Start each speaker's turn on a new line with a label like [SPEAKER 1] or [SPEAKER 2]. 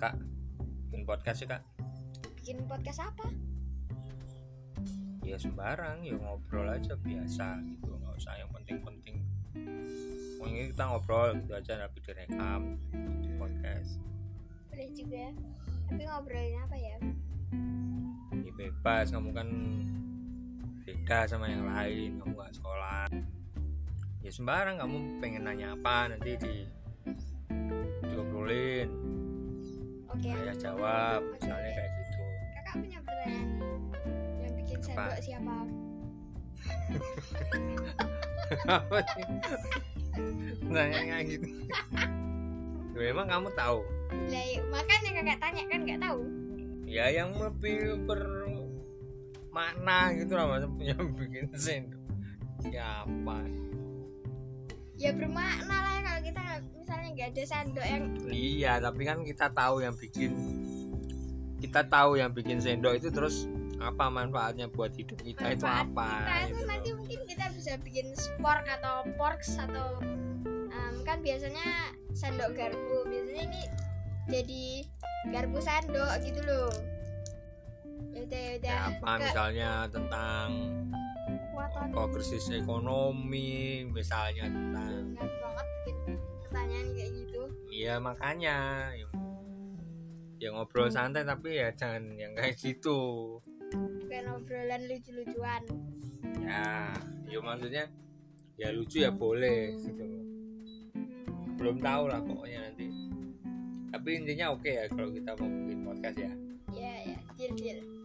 [SPEAKER 1] kak bikin podcast ya kak
[SPEAKER 2] bikin podcast apa
[SPEAKER 1] ya sembarang ya ngobrol aja biasa gitu nggak usah yang penting-penting mungkin kita ngobrol gitu aja tapi direkam di podcast
[SPEAKER 2] boleh juga tapi ngobrolin apa ya
[SPEAKER 1] ini bebas kamu kan beda sama yang lain kamu nggak sekolah ya sembarang kamu pengen nanya apa nanti di diobrolin
[SPEAKER 2] oke
[SPEAKER 1] saya jawab
[SPEAKER 2] Oke,
[SPEAKER 1] misalnya
[SPEAKER 2] oke.
[SPEAKER 1] kayak gitu
[SPEAKER 2] kakak punya pertanyaan nih. yang bikin
[SPEAKER 1] Apa?
[SPEAKER 2] sendok siapa
[SPEAKER 1] apa sih nanya kayak gitu Loh, emang kamu tahu
[SPEAKER 2] lah ya, makanya kakak tanya kan nggak tahu
[SPEAKER 1] ya yang lebih bermakna gitu lah mas yang bikin sendok siapa
[SPEAKER 2] ya bermakna lah ya kalau kita nggak- misalnya nggak ada sendok yang
[SPEAKER 1] iya tapi kan kita tahu yang bikin kita tahu yang bikin sendok itu terus apa manfaatnya buat hidup kita itu
[SPEAKER 2] Manfaat
[SPEAKER 1] apa
[SPEAKER 2] kita itu
[SPEAKER 1] gitu loh.
[SPEAKER 2] Nah, nanti mungkin kita bisa bikin spork atau porks atau em, kan biasanya sendok garpu biasanya ini jadi garpu sendok gitu loh Ya yaudah yaudah
[SPEAKER 1] Kayak Ya, apa
[SPEAKER 2] Ke-
[SPEAKER 1] misalnya tentang
[SPEAKER 2] kekuatan
[SPEAKER 1] progresis ekonomi misalnya tentang
[SPEAKER 2] Nggak banget bikin pertanyaan kayak gitu
[SPEAKER 1] Iya makanya ya, ya ngobrol santai tapi ya jangan yang kayak gitu
[SPEAKER 2] bukan obrolan lucu-lucuan
[SPEAKER 1] ya ya maksudnya ya lucu ya boleh gitu
[SPEAKER 2] Hmm,
[SPEAKER 1] belum tahu lah pokoknya
[SPEAKER 2] Iya,
[SPEAKER 1] nanti tapi intinya oke ya kalau kita mau bikin podcast ya
[SPEAKER 2] ya ya deal deal